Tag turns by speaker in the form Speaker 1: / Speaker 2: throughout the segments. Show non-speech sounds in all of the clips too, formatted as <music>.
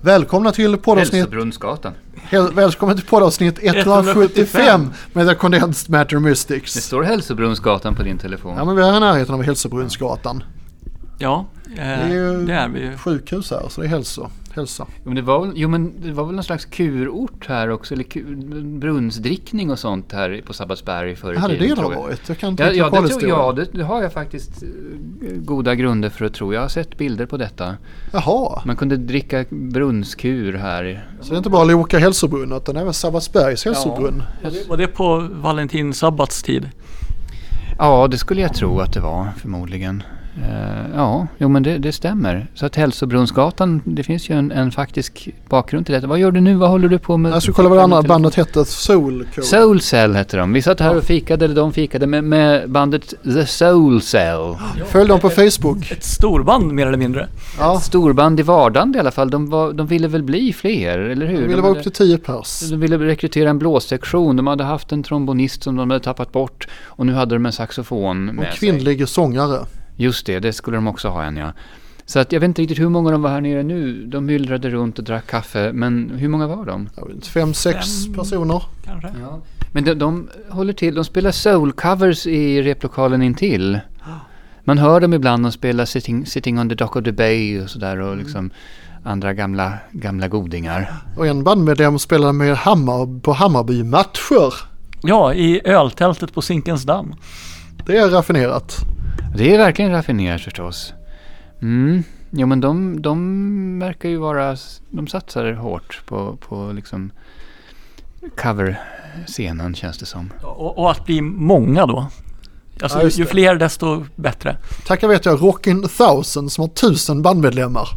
Speaker 1: Välkomna till poddavsnitt,
Speaker 2: Hälsobrunnsgatan.
Speaker 1: hel, välkommen till
Speaker 2: <laughs>
Speaker 1: poddavsnitt 175 med The Condensed Matter
Speaker 2: Det
Speaker 1: Mystics.
Speaker 2: står Hälsobrunnsgatan på din telefon.
Speaker 1: Ja men vi är i närheten av Hälsobrunnsgatan.
Speaker 3: Ja, eh,
Speaker 1: Det är ju
Speaker 3: det är vi ju.
Speaker 1: sjukhus här så det är hälso, hälsa.
Speaker 2: Jo, men det var, väl- jo men det var väl någon slags kurort här också, eller kur, brunnsdrickning och sånt här på Sabbatsberg förr i
Speaker 1: Hade det
Speaker 2: tiden,
Speaker 1: då
Speaker 2: tror jag.
Speaker 1: varit? Jag kan inte
Speaker 2: Ja, ja, det, tror,
Speaker 1: lokalhistorien.
Speaker 2: ja det, det har jag faktiskt eh, goda grunder för att tro. Jag har sett bilder på detta.
Speaker 1: Jaha,
Speaker 2: Man kunde dricka brunnskur här.
Speaker 1: så det är inte bara Loka hälsobrunn utan även Sabbatsbergs hälsobrunn.
Speaker 3: Var det- Var det på Valentin sabbatstid?
Speaker 2: Ja, det skulle jag tro att det var förmodligen. Eh, ja, jo men det, det stämmer. Så att Hälsobrunnsgatan, det finns ju en, en faktisk bakgrund till detta. Vad gör du nu? Vad håller du på med?
Speaker 1: Jag skulle kolla vad det andra bandet hette, Soul Code.
Speaker 2: Soul Cell hette de. Vi satt här och fikade, eller de fikade med, med bandet The Soul Cell.
Speaker 1: Följ dem på Facebook.
Speaker 3: Ett storband mer eller mindre.
Speaker 1: Ja,
Speaker 2: Storband i vardande i alla fall. De, var, de ville väl bli fler, eller hur?
Speaker 1: vi ville
Speaker 2: de
Speaker 1: vara
Speaker 2: hade-
Speaker 1: upp till 10 pers.
Speaker 2: de ville rekrytera en blåssektion. De hade haft en trombonist som de hade tappat bort. Och nu hade de en saxofon med
Speaker 1: Och
Speaker 2: sig.
Speaker 1: kvinnlig sångare.
Speaker 2: Just det, det skulle de också ha en ja. Så att jag vet inte riktigt hur många de var här nere nu. De myllrade runt och drack kaffe. Men hur många var de?
Speaker 1: Jag vet inte, Fem, sex
Speaker 3: Fem.
Speaker 1: personer.
Speaker 3: Kanske.
Speaker 2: Ja. Men de, de håller till, de spelar soul-covers i replokalen intill. Man hör dem ibland, de spelar sitting, sitting on the dock of the bay och sådär och liksom andra gamla, gamla godingar.
Speaker 1: Och en bandmedlem spelade med Hammar på Hammarby-matcher.
Speaker 3: Ja, i öltältet på Zinkensdamm.
Speaker 1: Det är raffinerat.
Speaker 2: Det är verkligen raffinerat förstås. Mm. Jo men de, de verkar ju vara, de satsar hårt på, på liksom cover-scenen känns det som.
Speaker 3: Ja, Och, och att bli många då. Alltså,
Speaker 1: Ja,
Speaker 3: ju,
Speaker 1: just
Speaker 3: ju
Speaker 1: det.
Speaker 3: fler desto bättre.
Speaker 1: Tackar vet jag Rockin' Thousand som har tusen bandmedlemmar.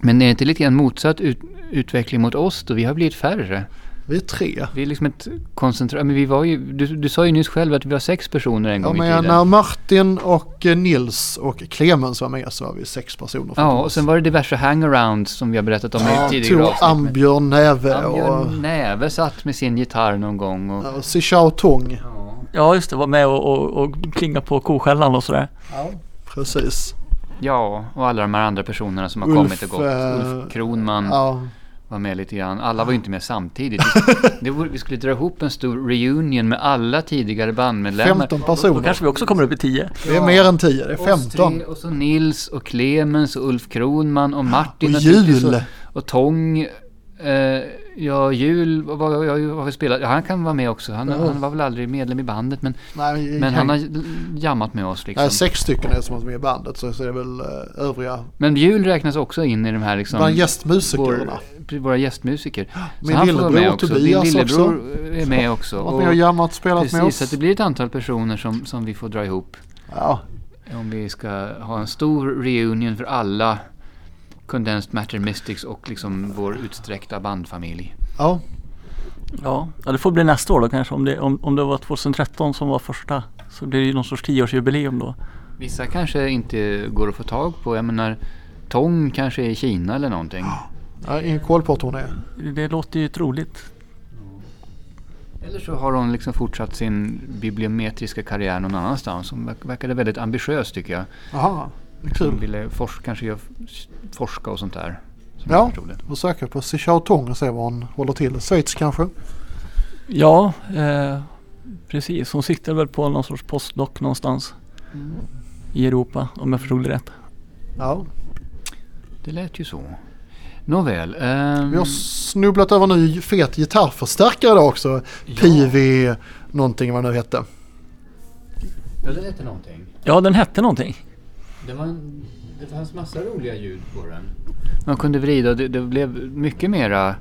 Speaker 2: Men är det inte lite grann motsatt ut, utveckling mot oss då? Vi har blivit färre.
Speaker 1: Vi är tre.
Speaker 2: Vi är liksom ett koncentrat, men vi var ju, du, du sa ju nyss själv att vi var sex personer en
Speaker 1: Ja,
Speaker 2: gång i
Speaker 1: men
Speaker 2: tiden.
Speaker 1: när Martin och eh, Nils och Clemens var med så var vi sex personer.
Speaker 2: Ja, och sen var det diverse hangarounds som vi har berättat om i tidigare
Speaker 1: Tor
Speaker 2: avsnitt. med-
Speaker 1: Ambjörn Näve och eh,
Speaker 2: Ambjörn Näve satt med sin gitarr någon gång och...
Speaker 1: ja, Sichao Tong.
Speaker 3: Ja, just det. Var med och, och, och klinga på koskällan och sådär.
Speaker 1: Precis.
Speaker 2: Mm. Ja, och alla de här andra personerna som har
Speaker 1: Ulf,
Speaker 2: kommit och gått.
Speaker 1: eh,
Speaker 2: Ulf Kronman
Speaker 1: Ja,
Speaker 2: var med lite grann. Alla var ju inte med samtidigt.
Speaker 1: <laughs>
Speaker 2: Det vore, vi skulle dra ihop en stor reunion med alla tidigare bandmedlemmar.
Speaker 1: 15
Speaker 3: Då
Speaker 1: personer.
Speaker 3: kanske vi också kommer upp i tio.
Speaker 1: Det är mer än 10, det är
Speaker 2: Oss tre,
Speaker 1: 15.
Speaker 2: Och så Nils och Clemens och Ulf Kronman och Martin
Speaker 1: Och
Speaker 2: naturligtvis
Speaker 1: Jul.
Speaker 2: Och, och Tång. Eh, ja, Jul, vad, vad, vad, vad har vi spelat? Ja, han kan vara med också. Han,
Speaker 1: Ja.
Speaker 2: han var väl aldrig medlem i bandet men,
Speaker 1: Nej,
Speaker 2: men han har
Speaker 1: nej,
Speaker 2: jammat med oss liksom.
Speaker 1: sex stycken är som var med i bandet så så är det väl eh, övriga
Speaker 2: Men Jul räknas också in i de här liksom.
Speaker 1: bland gästmusikerna.
Speaker 2: vår, våra gästmusiker. Så
Speaker 1: Min
Speaker 2: han får vara
Speaker 1: lillebror
Speaker 2: med också.
Speaker 1: Tobias
Speaker 2: Min lillebror är med också.
Speaker 1: Han har varit med och jammat, spelat med
Speaker 2: precis, så att
Speaker 1: oss.
Speaker 2: det blir ett antal personer som, som vi får dra ihop.
Speaker 1: Ja,
Speaker 2: Om vi ska ha en stor reunion för alla Condensed Matter Mystics och liksom vår utsträckta bandfamilj.
Speaker 1: ja.
Speaker 3: Ja, ja det får bli nästa år då kanske. Om det, om, om det var 2013 som var första så blir det ju någon sorts tioårsjubileum då.
Speaker 2: Vissa kanske inte går att få tag på. Jag menar, Tång kanske är i Kina eller någonting.
Speaker 1: Ja, ingen koll på vart hon är.
Speaker 3: Det låter ju troligt.
Speaker 2: Eller så har hon liksom fortsatt sin bibliometriska karriär någon annanstans. Hon verk- verkade väldigt ambitiös tycker jag.
Speaker 1: Jaha,
Speaker 2: Hon
Speaker 1: kul.
Speaker 2: ville forska, kanske göra f- forska och sånt där. Som jag
Speaker 1: Ja,
Speaker 2: förstod det.
Speaker 1: och söka på Sichao Tong och se var hon håller till. Schweiz kanske?
Speaker 3: Ja, eh, precis. Hon siktade väl på någon sorts postdoc någonstans i Europa om jag förstod det rätt.
Speaker 1: Ja.
Speaker 2: Det lät ju så. Nåväl. ehm,
Speaker 1: Vi har snubblat över en ny fet gitarrförstärkare idag också. PV någonting vad det nu hette.
Speaker 2: Ja, det hette någonting.
Speaker 3: Ja, den hette någonting.
Speaker 2: Det, var en, det fanns massa roliga ljud på den. Man kunde vrida och det, det blev mycket mera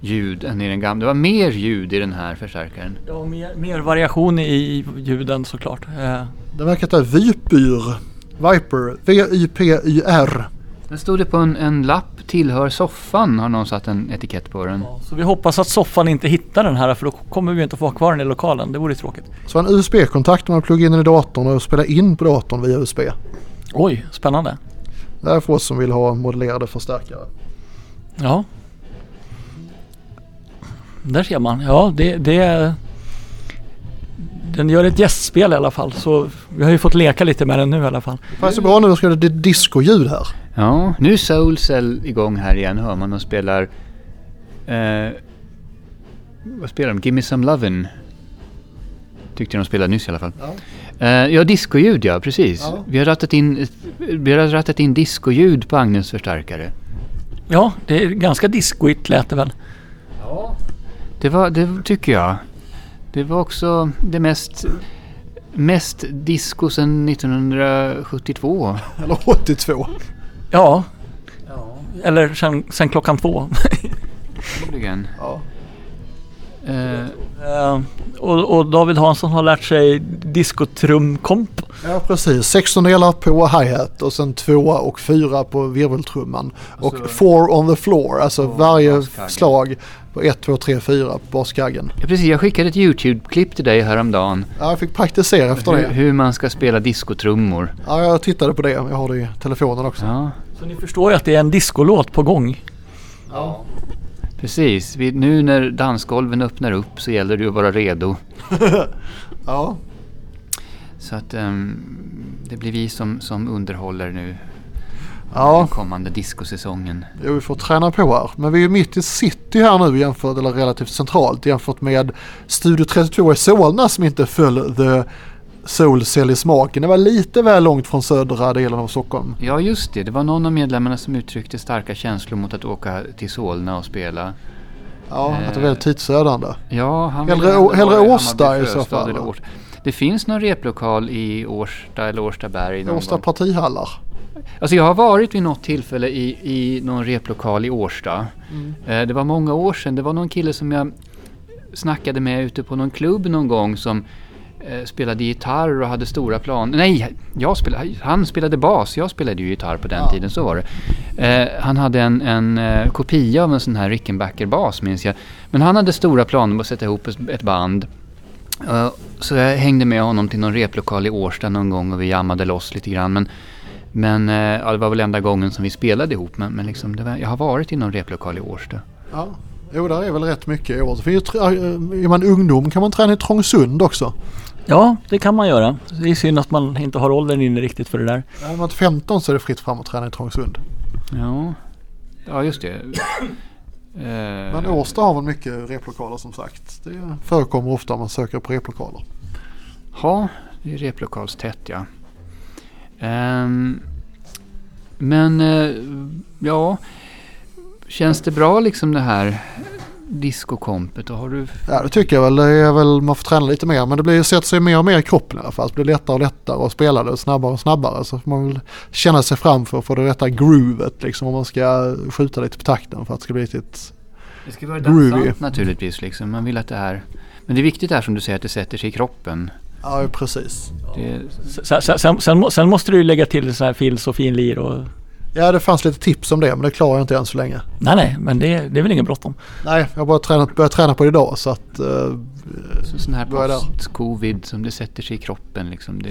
Speaker 2: ljud än i den gamla. Det var mer ljud i den här förstärkaren.
Speaker 3: Ja, mer, mer variation i ljuden såklart. Eh,
Speaker 1: Den verkar heta Vipyr. Viper. V-Y-P-Y-R.
Speaker 2: Sen stod det på en, en lapp, tillhör soffan, har någon satt en etikett på den.
Speaker 3: så vi hoppas att soffan inte hittar den här för då kommer vi inte att få ha kvar den i lokalen. Det vore ju tråkigt.
Speaker 1: Så en USB-kontakt man pluggar in den i datorn och spelar in på datorn via USB.
Speaker 3: Oj, spännande.
Speaker 1: Det här är för oss som vill ha modellerade förstärkare.
Speaker 3: Ja. Där ser man. Ja, det, det, Den gör ett gästspel i alla fall så vi har ju fått leka lite med den nu i alla fall.
Speaker 1: Det passar bra nu, då ska det det är discoljud här.
Speaker 2: Ja, nu är Soul Cell igång här igen hör man. De spelar... Eh, vad spelar de? Gimme Some Lovin'. Tyckte de spelade nyss i alla fall.
Speaker 1: Ja.
Speaker 2: Eh, ja, discoljud ja, precis.
Speaker 1: Ja.
Speaker 2: Vi, har rattat in, vi har rattat in discoljud på Agnes förstärkare.
Speaker 3: Ja, det är ganska discoigt lät det väl.
Speaker 2: Det var, det tycker jag. Det var också det mest, mest disco sedan 1972.
Speaker 1: Eller 82.
Speaker 3: Ja. Eller sen, sen klockan två.
Speaker 2: Troligen.
Speaker 1: Ja.
Speaker 2: Eh,
Speaker 3: Eh, och, och David Hansson har lärt sig discotrumkomp.
Speaker 1: Ja precis, 16 delar på hi-hat och sen tvåa och fyra på virveltrumman. Och
Speaker 2: så-
Speaker 1: four on the floor, alltså
Speaker 2: Och
Speaker 1: varje
Speaker 2: baskaggen.
Speaker 1: slag på 1, 2, 3, 4 på baskaggen.
Speaker 2: ja, precis, jag skickade ett YouTube-klipp till dig häromdagen.
Speaker 1: Ja, jag fick praktisera efter
Speaker 2: Hur,
Speaker 1: det.
Speaker 2: hur man ska spela diskotrummor.
Speaker 1: Ja, jag tittade på det, jag har det i telefonen också.
Speaker 2: Ja,
Speaker 3: Så ni förstår ju att det är en discolåt på gång.
Speaker 2: precis. Vi, nu när dansgolven öppnar upp så gäller det ju att vara redo.
Speaker 1: Ja,
Speaker 2: Så att ehm, det blir vi som, som underhåller nu den
Speaker 1: ja.
Speaker 2: kommande diskosäsongen.
Speaker 1: Jo, vi får träna på här. Men vi är ju mitt i city här nu jämfört, eller relativt centralt jämfört med Studio 32 i Solna som inte föll the Soul Cell i smaken. Det var lite väl långt från södra delen av Stockholm.
Speaker 2: Ja, just det. Det var någon av medlemmarna som uttryckte starka känslor mot att åka till Solna och spela.
Speaker 1: Ja, att det
Speaker 2: Eh.
Speaker 1: var väldigt tidsödande.
Speaker 2: Ja, han
Speaker 1: Hellre
Speaker 2: ville
Speaker 1: Å-
Speaker 2: ändå
Speaker 1: hellre
Speaker 2: vara i
Speaker 1: Årsta
Speaker 2: Hammarby,
Speaker 1: i så
Speaker 2: Fröstad
Speaker 1: fall,
Speaker 2: eller
Speaker 1: va?
Speaker 2: Årsta. Det finns någon replokal i Årsta eller Årstaberg någon
Speaker 1: Årsta
Speaker 2: gång.
Speaker 1: partihallar.
Speaker 2: Alltså jag har varit vid något tillfälle i, i någon replokal i Årsta. Eh, Det var många år sedan. Det var någon kille som jag snackade med ute på någon klubb någon gång som eh, spelade gitarr och hade stora plan. Nej, jag spelade, han spelade bas. Jag spelade ju gitarr på den
Speaker 1: Ja.
Speaker 2: tiden, så var det. Eh, han hade en, en eh, kopia av en sån här Rickenbacker-bas minns jag. Men han hade stora planer på att sätta ihop ett- ett band. Eh, Så jag hängde med honom till någon replokal i Årsta någon gång och vi jammade loss lite grann. Men, men eh, ja, det var väl enda gången som vi spelade ihop. Men, men liksom, det var, jag har varit i någon replokal i Årsta.
Speaker 1: Ja. Jo, där är väl rätt mycket i år. Det finns ju tra- eh, Är man ungdom kan man träna i Trångsund också.
Speaker 3: Ja, det kan man göra. Det är synd att man inte har åldern inne riktigt för det där.
Speaker 1: Är man 15 så är det fritt fram att träna i Trångsund.
Speaker 2: Ja, ja just det. Eh,
Speaker 1: Men Årsta har väl mycket replokaler som sagt. Det förekommer ofta om man söker på replokaler.
Speaker 2: Ja, det är replokalstätt ja. Ehm, men eh, ja, känns det bra liksom det här diskokompet? Och har du...
Speaker 1: Ja det tycker jag väl. Det är väl man får träna lite mer. Men det blir, sätter sig mer och mer i kroppen i alla fall. Så Det blir lättare och lättare att spela det snabbare och snabbare. Så får man väl känna sig fram för att få det rätta groovet. Liksom om man ska skjuta lite på takten för att det ska bli riktigt...
Speaker 2: Det ska vara
Speaker 1: Groovy.
Speaker 2: dansant naturligtvis liksom. Man vill att det här... Men det är viktigt här som du säger att det sätter sig i kroppen.
Speaker 1: Ja precis.
Speaker 2: Det,
Speaker 3: Sen, sen, sen, sen, må- sen måste du ju lägga till så här fils och finlir och...
Speaker 1: Ja det fanns lite tips om det men det klarar jag inte än så länge.
Speaker 3: Nej, nej, men det, det är väl ingen bråttom.
Speaker 1: Nej jag har bara tränat, börjat träna på det idag så att... eh, <laughs>
Speaker 2: Så sån här
Speaker 1: Vad är det?
Speaker 2: post-covid som det sätter sig i kroppen liksom. Det,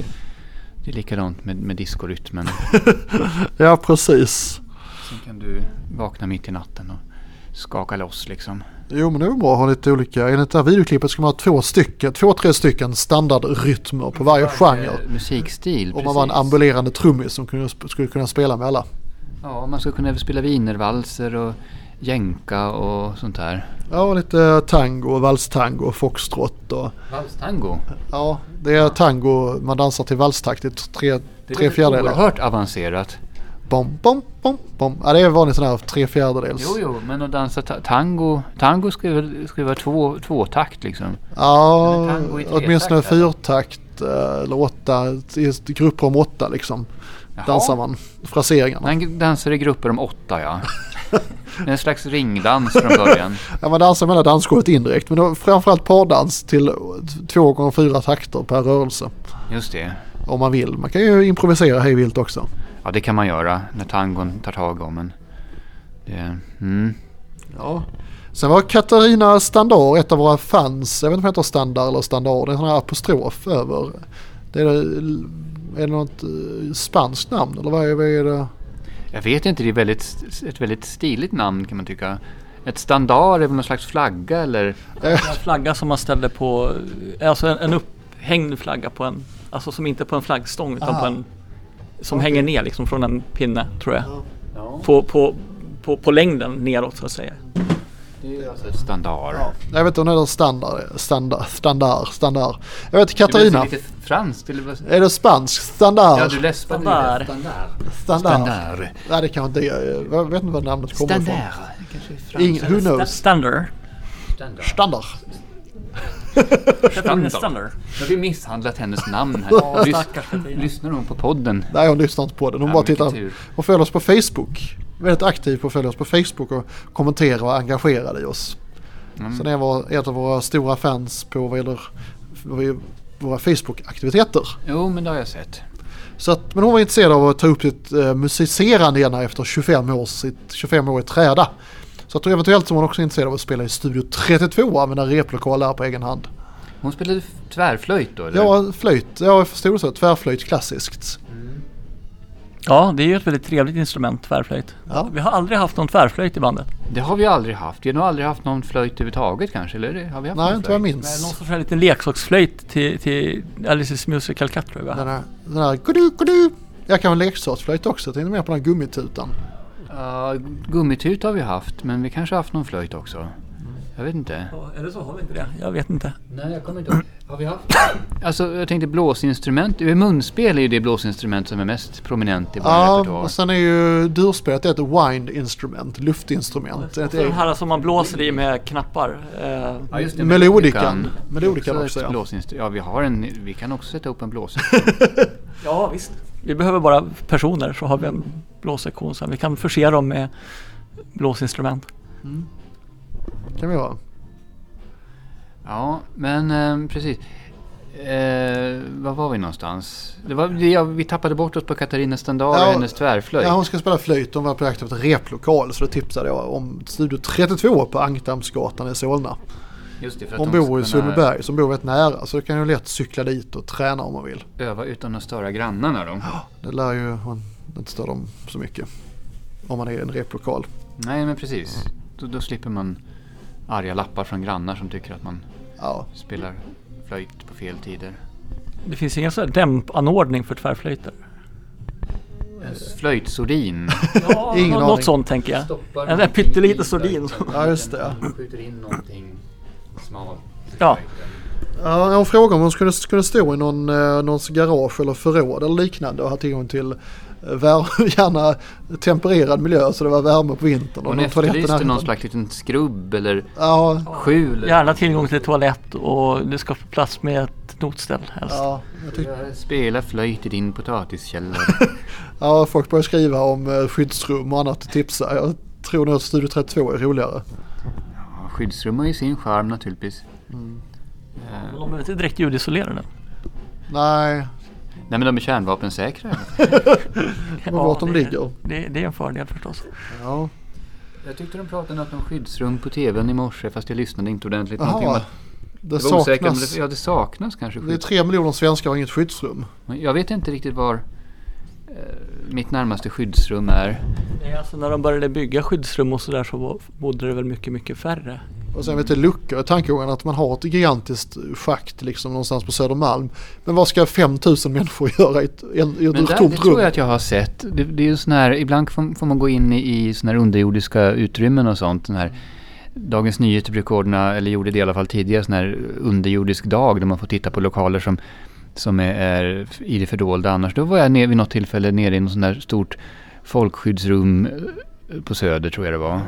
Speaker 2: det är likadant med, med diskorytmen.
Speaker 1: ja precis.
Speaker 2: Sen kan du vakna mitt i natten och skaka loss liksom.
Speaker 1: Jo men det är väl bra att ha lite olika. Enligt det här videoklippet ska man ha två stycken, två tre stycken standardrytmer på varje genre.
Speaker 2: Eh, Musikstil,
Speaker 1: Om man var en ambulerande trummis som kunde, skulle kunna spela med alla.
Speaker 2: Ja, man ska kunna spela wienervalser och jänka och sånt där.
Speaker 1: Ja, och lite tango, valstango och foxtrot. Och,
Speaker 2: Valstango?
Speaker 1: ja, det är tango, man dansar till valstakt i tre, tre fjärdedelar.
Speaker 2: oerhört avancerat.
Speaker 1: Bom, bom, bom, bom. Ja, det är vanligt sån här tre fjärdedels.
Speaker 2: Jo, jo, men att dansa ta- tango. Tango ska ju väl- ska ju vara två, tvåtakt liksom.
Speaker 1: Ja,
Speaker 2: Eller tango i tre
Speaker 1: åtminstone
Speaker 2: takt, eller?
Speaker 1: fyrtakt eh, eller åtta, i grupper om åtta liksom.
Speaker 2: Jaha.
Speaker 1: Dansar man fraseringarna.
Speaker 2: Man dansar i grupper om
Speaker 1: <laughs>
Speaker 2: åtta, ja. en slags ringdans från början.
Speaker 1: Ja, man dansar med hela dansgolvet indirekt. Men då, framförallt pardans till två gånger fyra takter per rörelse.
Speaker 2: Just det.
Speaker 1: Om man vill. Man kan ju improvisera hej vilt också.
Speaker 2: Ja, det kan man göra när tangon tar tag om en. Det, mm.
Speaker 1: Ja. Sen var Katarina Standard ett av våra fans. Jag vet inte om hon heter Standard eller Standard. Det är en sån här apostrof över. Det är, är det något eh, spanskt namn eller vad är, vad är det?
Speaker 2: Jag vet inte, det är väldigt, ett väldigt stiligt namn kan man tycka. Ett standard är väl någon slags flagga eller?
Speaker 3: En flagga som man ställde på, alltså en, en hängd flagga på en, alltså som inte är på en flaggstång utan
Speaker 1: Aha.
Speaker 3: på en som hänger ner liksom från en pinne tror jag.
Speaker 2: Ja.
Speaker 3: På, på, på, på längden neråt så att säga.
Speaker 2: Det är alltså ett standard.
Speaker 1: Ja. Jag vet inte om det är standard, standard, standard, standard. Jag vet
Speaker 2: Det
Speaker 1: Katarina.
Speaker 2: blir lite franskt eller vad?
Speaker 1: Är det spansk? Standard?
Speaker 2: Ja, du läspade
Speaker 3: Standard.
Speaker 2: lite. Standard.
Speaker 1: standard.
Speaker 2: Standard.
Speaker 1: Nej, det kanske inte är. Jag vet inte var namnet kommer ifrån.
Speaker 2: Standard. Kanske är franskt.
Speaker 1: Ing, who
Speaker 3: Sta-
Speaker 1: knows?
Speaker 3: Standard.
Speaker 2: Standard.
Speaker 1: Standard.
Speaker 3: Katarina Standard.
Speaker 2: Nu har vi misshandlat hennes namn <laughs> här. Lys-
Speaker 3: Stackars Katarina.
Speaker 2: lyssnar hon på podden?
Speaker 1: Nej, hon lyssnar inte på den. Hon
Speaker 2: Ja,
Speaker 1: bara
Speaker 2: vilken
Speaker 1: tittar.
Speaker 2: tur.
Speaker 1: Hon följer oss på Facebook. Väldigt aktiv på att följa oss på Facebook och kommenterar och engagerar i oss.
Speaker 2: Mm.
Speaker 1: Sen är var ett av våra stora fans på vad gäller våra Facebook-aktiviteter.
Speaker 2: Jo, men det har jag sett.
Speaker 1: Så att, men hon var intresserad av att ta upp sitt eh, musicerande igen här efter 25 år, sitt 25 år i träda. Så att eventuellt så var hon också intresserad av att spela i Studio 32 och använda replokal där på egen hand.
Speaker 2: Hon spelade f- tvärflöjt då, eller?
Speaker 1: Ja, flöjt. Ja, jag förstod det så. Tvärflöjt klassiskt.
Speaker 3: Ja, det är ju ett väldigt trevligt instrument, tvärflöjt.
Speaker 1: Ja.
Speaker 3: Vi har aldrig haft någon tvärflöjt i bandet.
Speaker 2: Det har vi aldrig haft. Vi har nog aldrig haft någon flöjt överhuvudtaget kanske, eller? Har vi haft
Speaker 1: Nej,
Speaker 2: någon
Speaker 1: inte vad jag
Speaker 2: flöjt?
Speaker 3: Men någon
Speaker 1: minns.
Speaker 3: sorts här liten leksaksflöjt till, till Alice's Musical Cat tror jag vi har
Speaker 1: Den
Speaker 3: haft.
Speaker 1: här, den här kudu, kudu. Jag kan väl leksaksflöjt också. Jag tänkte mer på den här gummitutan.
Speaker 2: Ja, gummitut har vi haft, men vi kanske har haft någon flöjt också. Jag vet inte.
Speaker 3: Ja, Eller så har vi inte det. Jag vet inte.
Speaker 2: Nej, jag kommer inte ihåg. Har vi haft? Alltså, jag tänkte blåsinstrument. Munspel är ju det blåsinstrument som är mest prominent i vår
Speaker 1: Ja,
Speaker 2: repertoar.
Speaker 1: och sen är ju durspelet ett wind instrument, luftinstrument. Ett
Speaker 3: De
Speaker 1: eget.
Speaker 3: här som man blåser i med knappar. Eh,
Speaker 2: Ja, just det,
Speaker 1: Melodikan. Melodikan
Speaker 2: Också
Speaker 1: också,
Speaker 2: ett
Speaker 1: ja.
Speaker 2: blåsinstru- ja. vi har en, vi kan också sätta upp
Speaker 1: <laughs>
Speaker 2: en blås.
Speaker 3: ja, visst. Vi behöver bara personer så har vi en blåssektion sen. Vi kan förse dem med blåsinstrument.
Speaker 1: kan vi ha.
Speaker 2: ja, men eh, precis. Eh, var var vi någonstans? Det var, det, ja, vi tappade bort oss på Katarina Standard och
Speaker 1: Ja,
Speaker 2: hennes tvärflöjt.
Speaker 1: Ja, hon ska spela flöjt. Hon var på jakt efter replokal så då tipsade jag om Studio 32 på Ankdammsgatan i Solna.
Speaker 2: Just det, för att
Speaker 1: Hon
Speaker 2: de
Speaker 1: bor i
Speaker 2: ska kunna
Speaker 1: Sundbyberg som bor rätt nära så då kan hon lätt cykla dit och träna om hon vill.
Speaker 2: Öva utan att störa grannarna då.
Speaker 1: Det lär ju hon inte störa dem så mycket. Om man är i en replokal.
Speaker 2: Nej, men precis. Då, då slipper man arga lappar från grannar som tycker att man
Speaker 1: Ja,
Speaker 2: spelar flöjt på fel tider.
Speaker 3: Det finns ingen sån här dämpanordning för tvärflöjter.
Speaker 2: En
Speaker 1: <laughs>
Speaker 2: flöjtsordin.
Speaker 3: Ja,
Speaker 1: Ingen
Speaker 3: nå-
Speaker 1: aning.
Speaker 3: något sånt tänker jag.
Speaker 2: Stoppar
Speaker 3: En där
Speaker 2: någonting
Speaker 3: pytteliten
Speaker 2: i
Speaker 3: sordin.
Speaker 2: flöjten.
Speaker 1: Ja, just det, ja.
Speaker 2: Man Skjuter in någonting smalt. i
Speaker 3: Ja.
Speaker 2: flöjten.
Speaker 1: Ja, hon frågade om hon skulle, skulle stå i någon, eh, någons garage eller förråd eller liknande och ha tillgång till eh, vär- <laughs> gärna tempererad miljö så det var värme på vintern.
Speaker 2: Hon
Speaker 1: någon toalett i
Speaker 2: efterlyste
Speaker 1: närheten.
Speaker 2: någon slags liten skrubb eller
Speaker 1: Ja,
Speaker 2: skjul.
Speaker 3: Gärna tillgång till toalett och det ska få plats med ett notställ helst.
Speaker 1: ja, jag tyck-
Speaker 2: Spela flöjt i din potatiskällare.
Speaker 1: <laughs> ja, folk började skriva om eh, skyddsrum och annat och tipsa. Jag tror nog att Studio 32 är roligare.
Speaker 2: Ja, Skyddsrum har ju sin charm naturligtvis.
Speaker 1: Mm.
Speaker 2: Eh,
Speaker 3: Men De är inte direkt ljudisolerade.
Speaker 2: <laughs>
Speaker 1: Nej,
Speaker 2: Nej men de är kärnvapensäkra.
Speaker 1: men vart de
Speaker 3: det-
Speaker 1: ligger.
Speaker 3: Det, det är en fördel förstås.
Speaker 1: Ja.
Speaker 2: Jag tyckte de pratade något om skyddsrum på tvn i morse fast jag lyssnade inte ordentligt. Någonting om
Speaker 1: Jaha,
Speaker 2: att
Speaker 1: det
Speaker 2: det var osäkert om
Speaker 1: saknas.
Speaker 2: det, ja, det saknas kanske
Speaker 1: Det är
Speaker 2: skyddsrum.
Speaker 1: tre miljoner svenskar och inget skyddsrum.
Speaker 2: Men Jag vet inte riktigt var eh, mitt närmaste skyddsrum är.
Speaker 3: Nej, alltså när de började bygga skyddsrum och sådär så var- bodde det väl mycket, mycket färre.
Speaker 1: Och sen vet du luckor i tankegången att man har ett gigantiskt schakt liksom någonstans på Södermalm. Men vad ska 5000 människor <laughs> göra i ett, i en- i ett
Speaker 2: Men där, det
Speaker 1: tomt rum?
Speaker 2: tror jag att jag har sett. Det, det är ju sån här, ibland får, får man gå in i, i såna här underjordiska utrymmen och sånt. Den här, Dagens Nyheter brukar ordna, eller gjorde det i alla fall tidigare, sån här underjordisk dag där man får titta på lokaler som, som är, är i det fördolda annars. Då var jag ner, vid något tillfälle nere i något sån här stort folkskyddsrum eh, på Söder tror jag det var.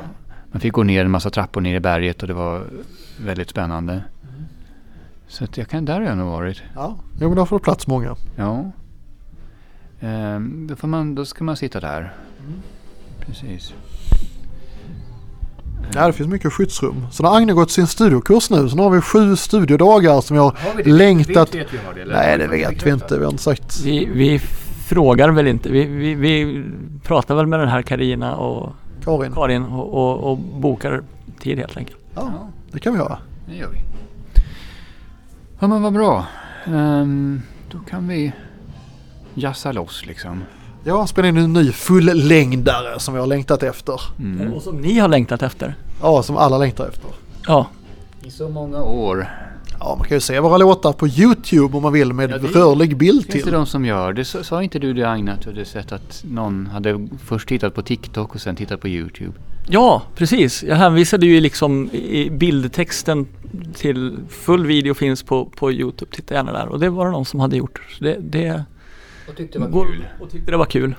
Speaker 2: Man fick gå ner en massa trappor ner i berget och det var väldigt spännande. Så att jag kan, där har jag nog varit.
Speaker 1: Ja, jo, men där får du plats många.
Speaker 2: Ja. Ehm, då, får man, då ska man sitta där. Mm. Precis.
Speaker 1: Ja, det finns mycket skyddsrum. Så när Agne gått sin studiokurs nu så nu har vi sju studiodagar som jag har längtat...
Speaker 2: Vet vi har det, eller?
Speaker 1: Nej, det vet vi inte. Vi har inte sagt...
Speaker 3: Vi, vi frågar väl inte. Vi, vi, vi pratar väl med den här Karina och
Speaker 1: Karin,
Speaker 3: Karin och, och, och bokar tid helt enkelt.
Speaker 1: ja, det kan vi göra.
Speaker 2: Det gör vi. Ja men vad bra. Ehm, då kan vi jassa loss liksom.
Speaker 1: Ja, spela in en ny fullängdare som vi har längtat efter.
Speaker 2: Mm.
Speaker 3: Och som ni har längtat efter.
Speaker 1: Ja, som alla längtar efter.
Speaker 3: Ja,
Speaker 2: I så många år.
Speaker 1: Ja, man kan ju se våra låtar på YouTube om man vill med
Speaker 2: Ja, det-
Speaker 1: rörlig bild
Speaker 2: Finns det
Speaker 1: till.
Speaker 2: de som gör det? Sa- Sa inte du det Aina att du hade sett att någon hade först tittat på TikTok och sen tittat på YouTube?
Speaker 3: Ja, precis. Jag hänvisade ju liksom i bildtexten till full video finns på, på Youtube. Titta gärna där. Och det var det någon som hade gjort. Så det, det
Speaker 2: Och tyckte
Speaker 3: går- Och tyckte det var kul.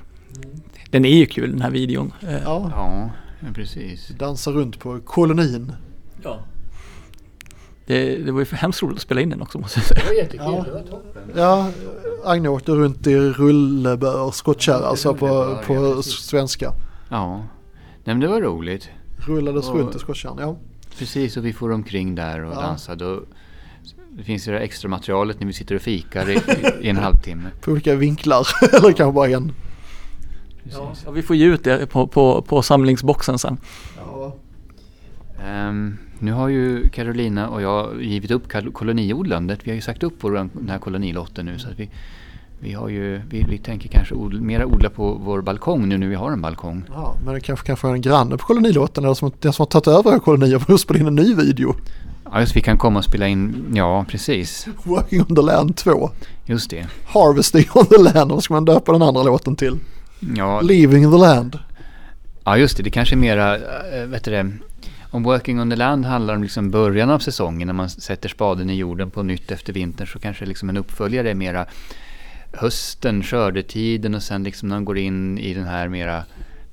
Speaker 3: Den är ju kul den här videon. Eh,
Speaker 1: Ja,
Speaker 2: Ja, ja, precis.
Speaker 1: dansa runt på kolonin.
Speaker 3: Det, det var ju för hemskt roligt att spela in den också måste jag säga.
Speaker 2: Det var jättekul,
Speaker 1: Ja. det
Speaker 2: var toppen.
Speaker 1: Ja, Agne åkte runt i rullebör och skottkärra alltså på,
Speaker 2: Rullebör, ja,
Speaker 1: på
Speaker 2: precis.
Speaker 1: svenska.
Speaker 2: Ja, Nej, men det var roligt.
Speaker 1: Rullades
Speaker 2: Och-
Speaker 1: runt i skottkärran, ja.
Speaker 2: Precis, och vi for omkring där och
Speaker 1: Ja.
Speaker 2: dansade. Och det finns ju det här extra materialet när vi sitter och fikar <laughs> i, i en halvtimme.
Speaker 1: På olika vinklar, <laughs> eller kanske bara en.
Speaker 2: Precis.
Speaker 3: Ja, vi får ju ut det på, på, på samlingsboxen sen.
Speaker 1: Ja.
Speaker 2: Ehm, nu har ju Carolina och jag givit upp kal- koloniodlandet. Vi har ju sagt upp vår, den här kolonilotten nu. Så att vi, vi, har ju, vi, vi tänker kanske od, mera odla på vår balkong nu när vi har en balkong.
Speaker 1: Ja, men det kanske kan få en granne på kolonilåten eller som, den som har tagit över kolonier för att spela in en ny video. <laughs>
Speaker 2: Ja, just vi kan komma och spela in. Ja, precis.
Speaker 1: Working on the land 2.
Speaker 2: Just det.
Speaker 1: Harvesting on the land, vad ska man döpa den andra låten till?
Speaker 2: Ja,
Speaker 1: Leaving the land.
Speaker 2: ja just det. Det kanske är mera, äh, vet du det, om Working on the Land handlar om liksom början av säsongen när man s- sätter spaden i jorden på nytt efter vintern så kanske liksom en uppföljare är mera hösten, skördetiden och sen liksom när man går in i den här mera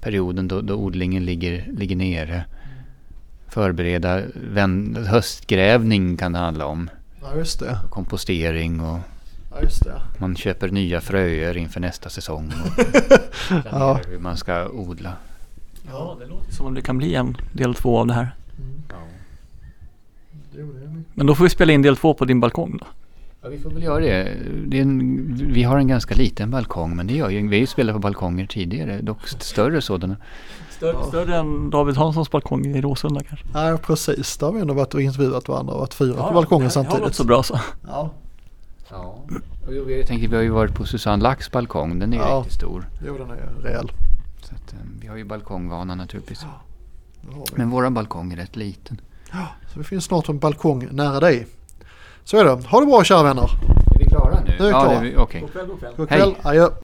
Speaker 2: perioden då, då odlingen ligger, ligger nere. Förbereda vän, höstgrävning kan det handla om.
Speaker 1: Ja, just det.
Speaker 2: Kompostering och
Speaker 1: Ja, just <laughs> det.
Speaker 2: man köper nya fröer inför nästa säsong. Och
Speaker 1: <laughs> Ja.
Speaker 2: planerar hur man ska odla.
Speaker 1: Ja,
Speaker 3: det låter som om det kan bli en del två av det här.
Speaker 1: Jo, det är mycket.
Speaker 3: Men då får vi spela in del två på din balkong då.
Speaker 2: Ja, vi får väl göra det. det är en, vi har en ganska liten balkong, men det gör ju, vi har ju spelat på balkonger tidigare, dock st- större sådana.
Speaker 3: Större,
Speaker 1: Ja.
Speaker 3: större än David Hanssons balkong i Råsunda kanske.
Speaker 1: Ja, precis. Där har vi ändå varit och intervjuat varandra och varit fyra på balkongen
Speaker 3: Det har gått
Speaker 1: samtidigt.
Speaker 3: så bra så.
Speaker 1: Ja,
Speaker 2: Ja. Och jag tänker, vi har ju varit på Susanne Lacks balkong, den är ju
Speaker 1: Ja.
Speaker 2: riktigt stor.
Speaker 1: jo den är rejäl.
Speaker 2: Så att, eh, vi har ju balkongvana naturligtvis.
Speaker 1: Det har vi.
Speaker 2: Men våran balkong är rätt liten.
Speaker 1: Så det finns snart en balkong nära dig. Så är det. Ha det bra kära vänner.
Speaker 2: Är vi klara nu?
Speaker 1: Nu är vi
Speaker 2: ja,
Speaker 1: klara.
Speaker 2: det är vi, okej.
Speaker 1: God
Speaker 2: Hej.
Speaker 1: kväll. Adjö.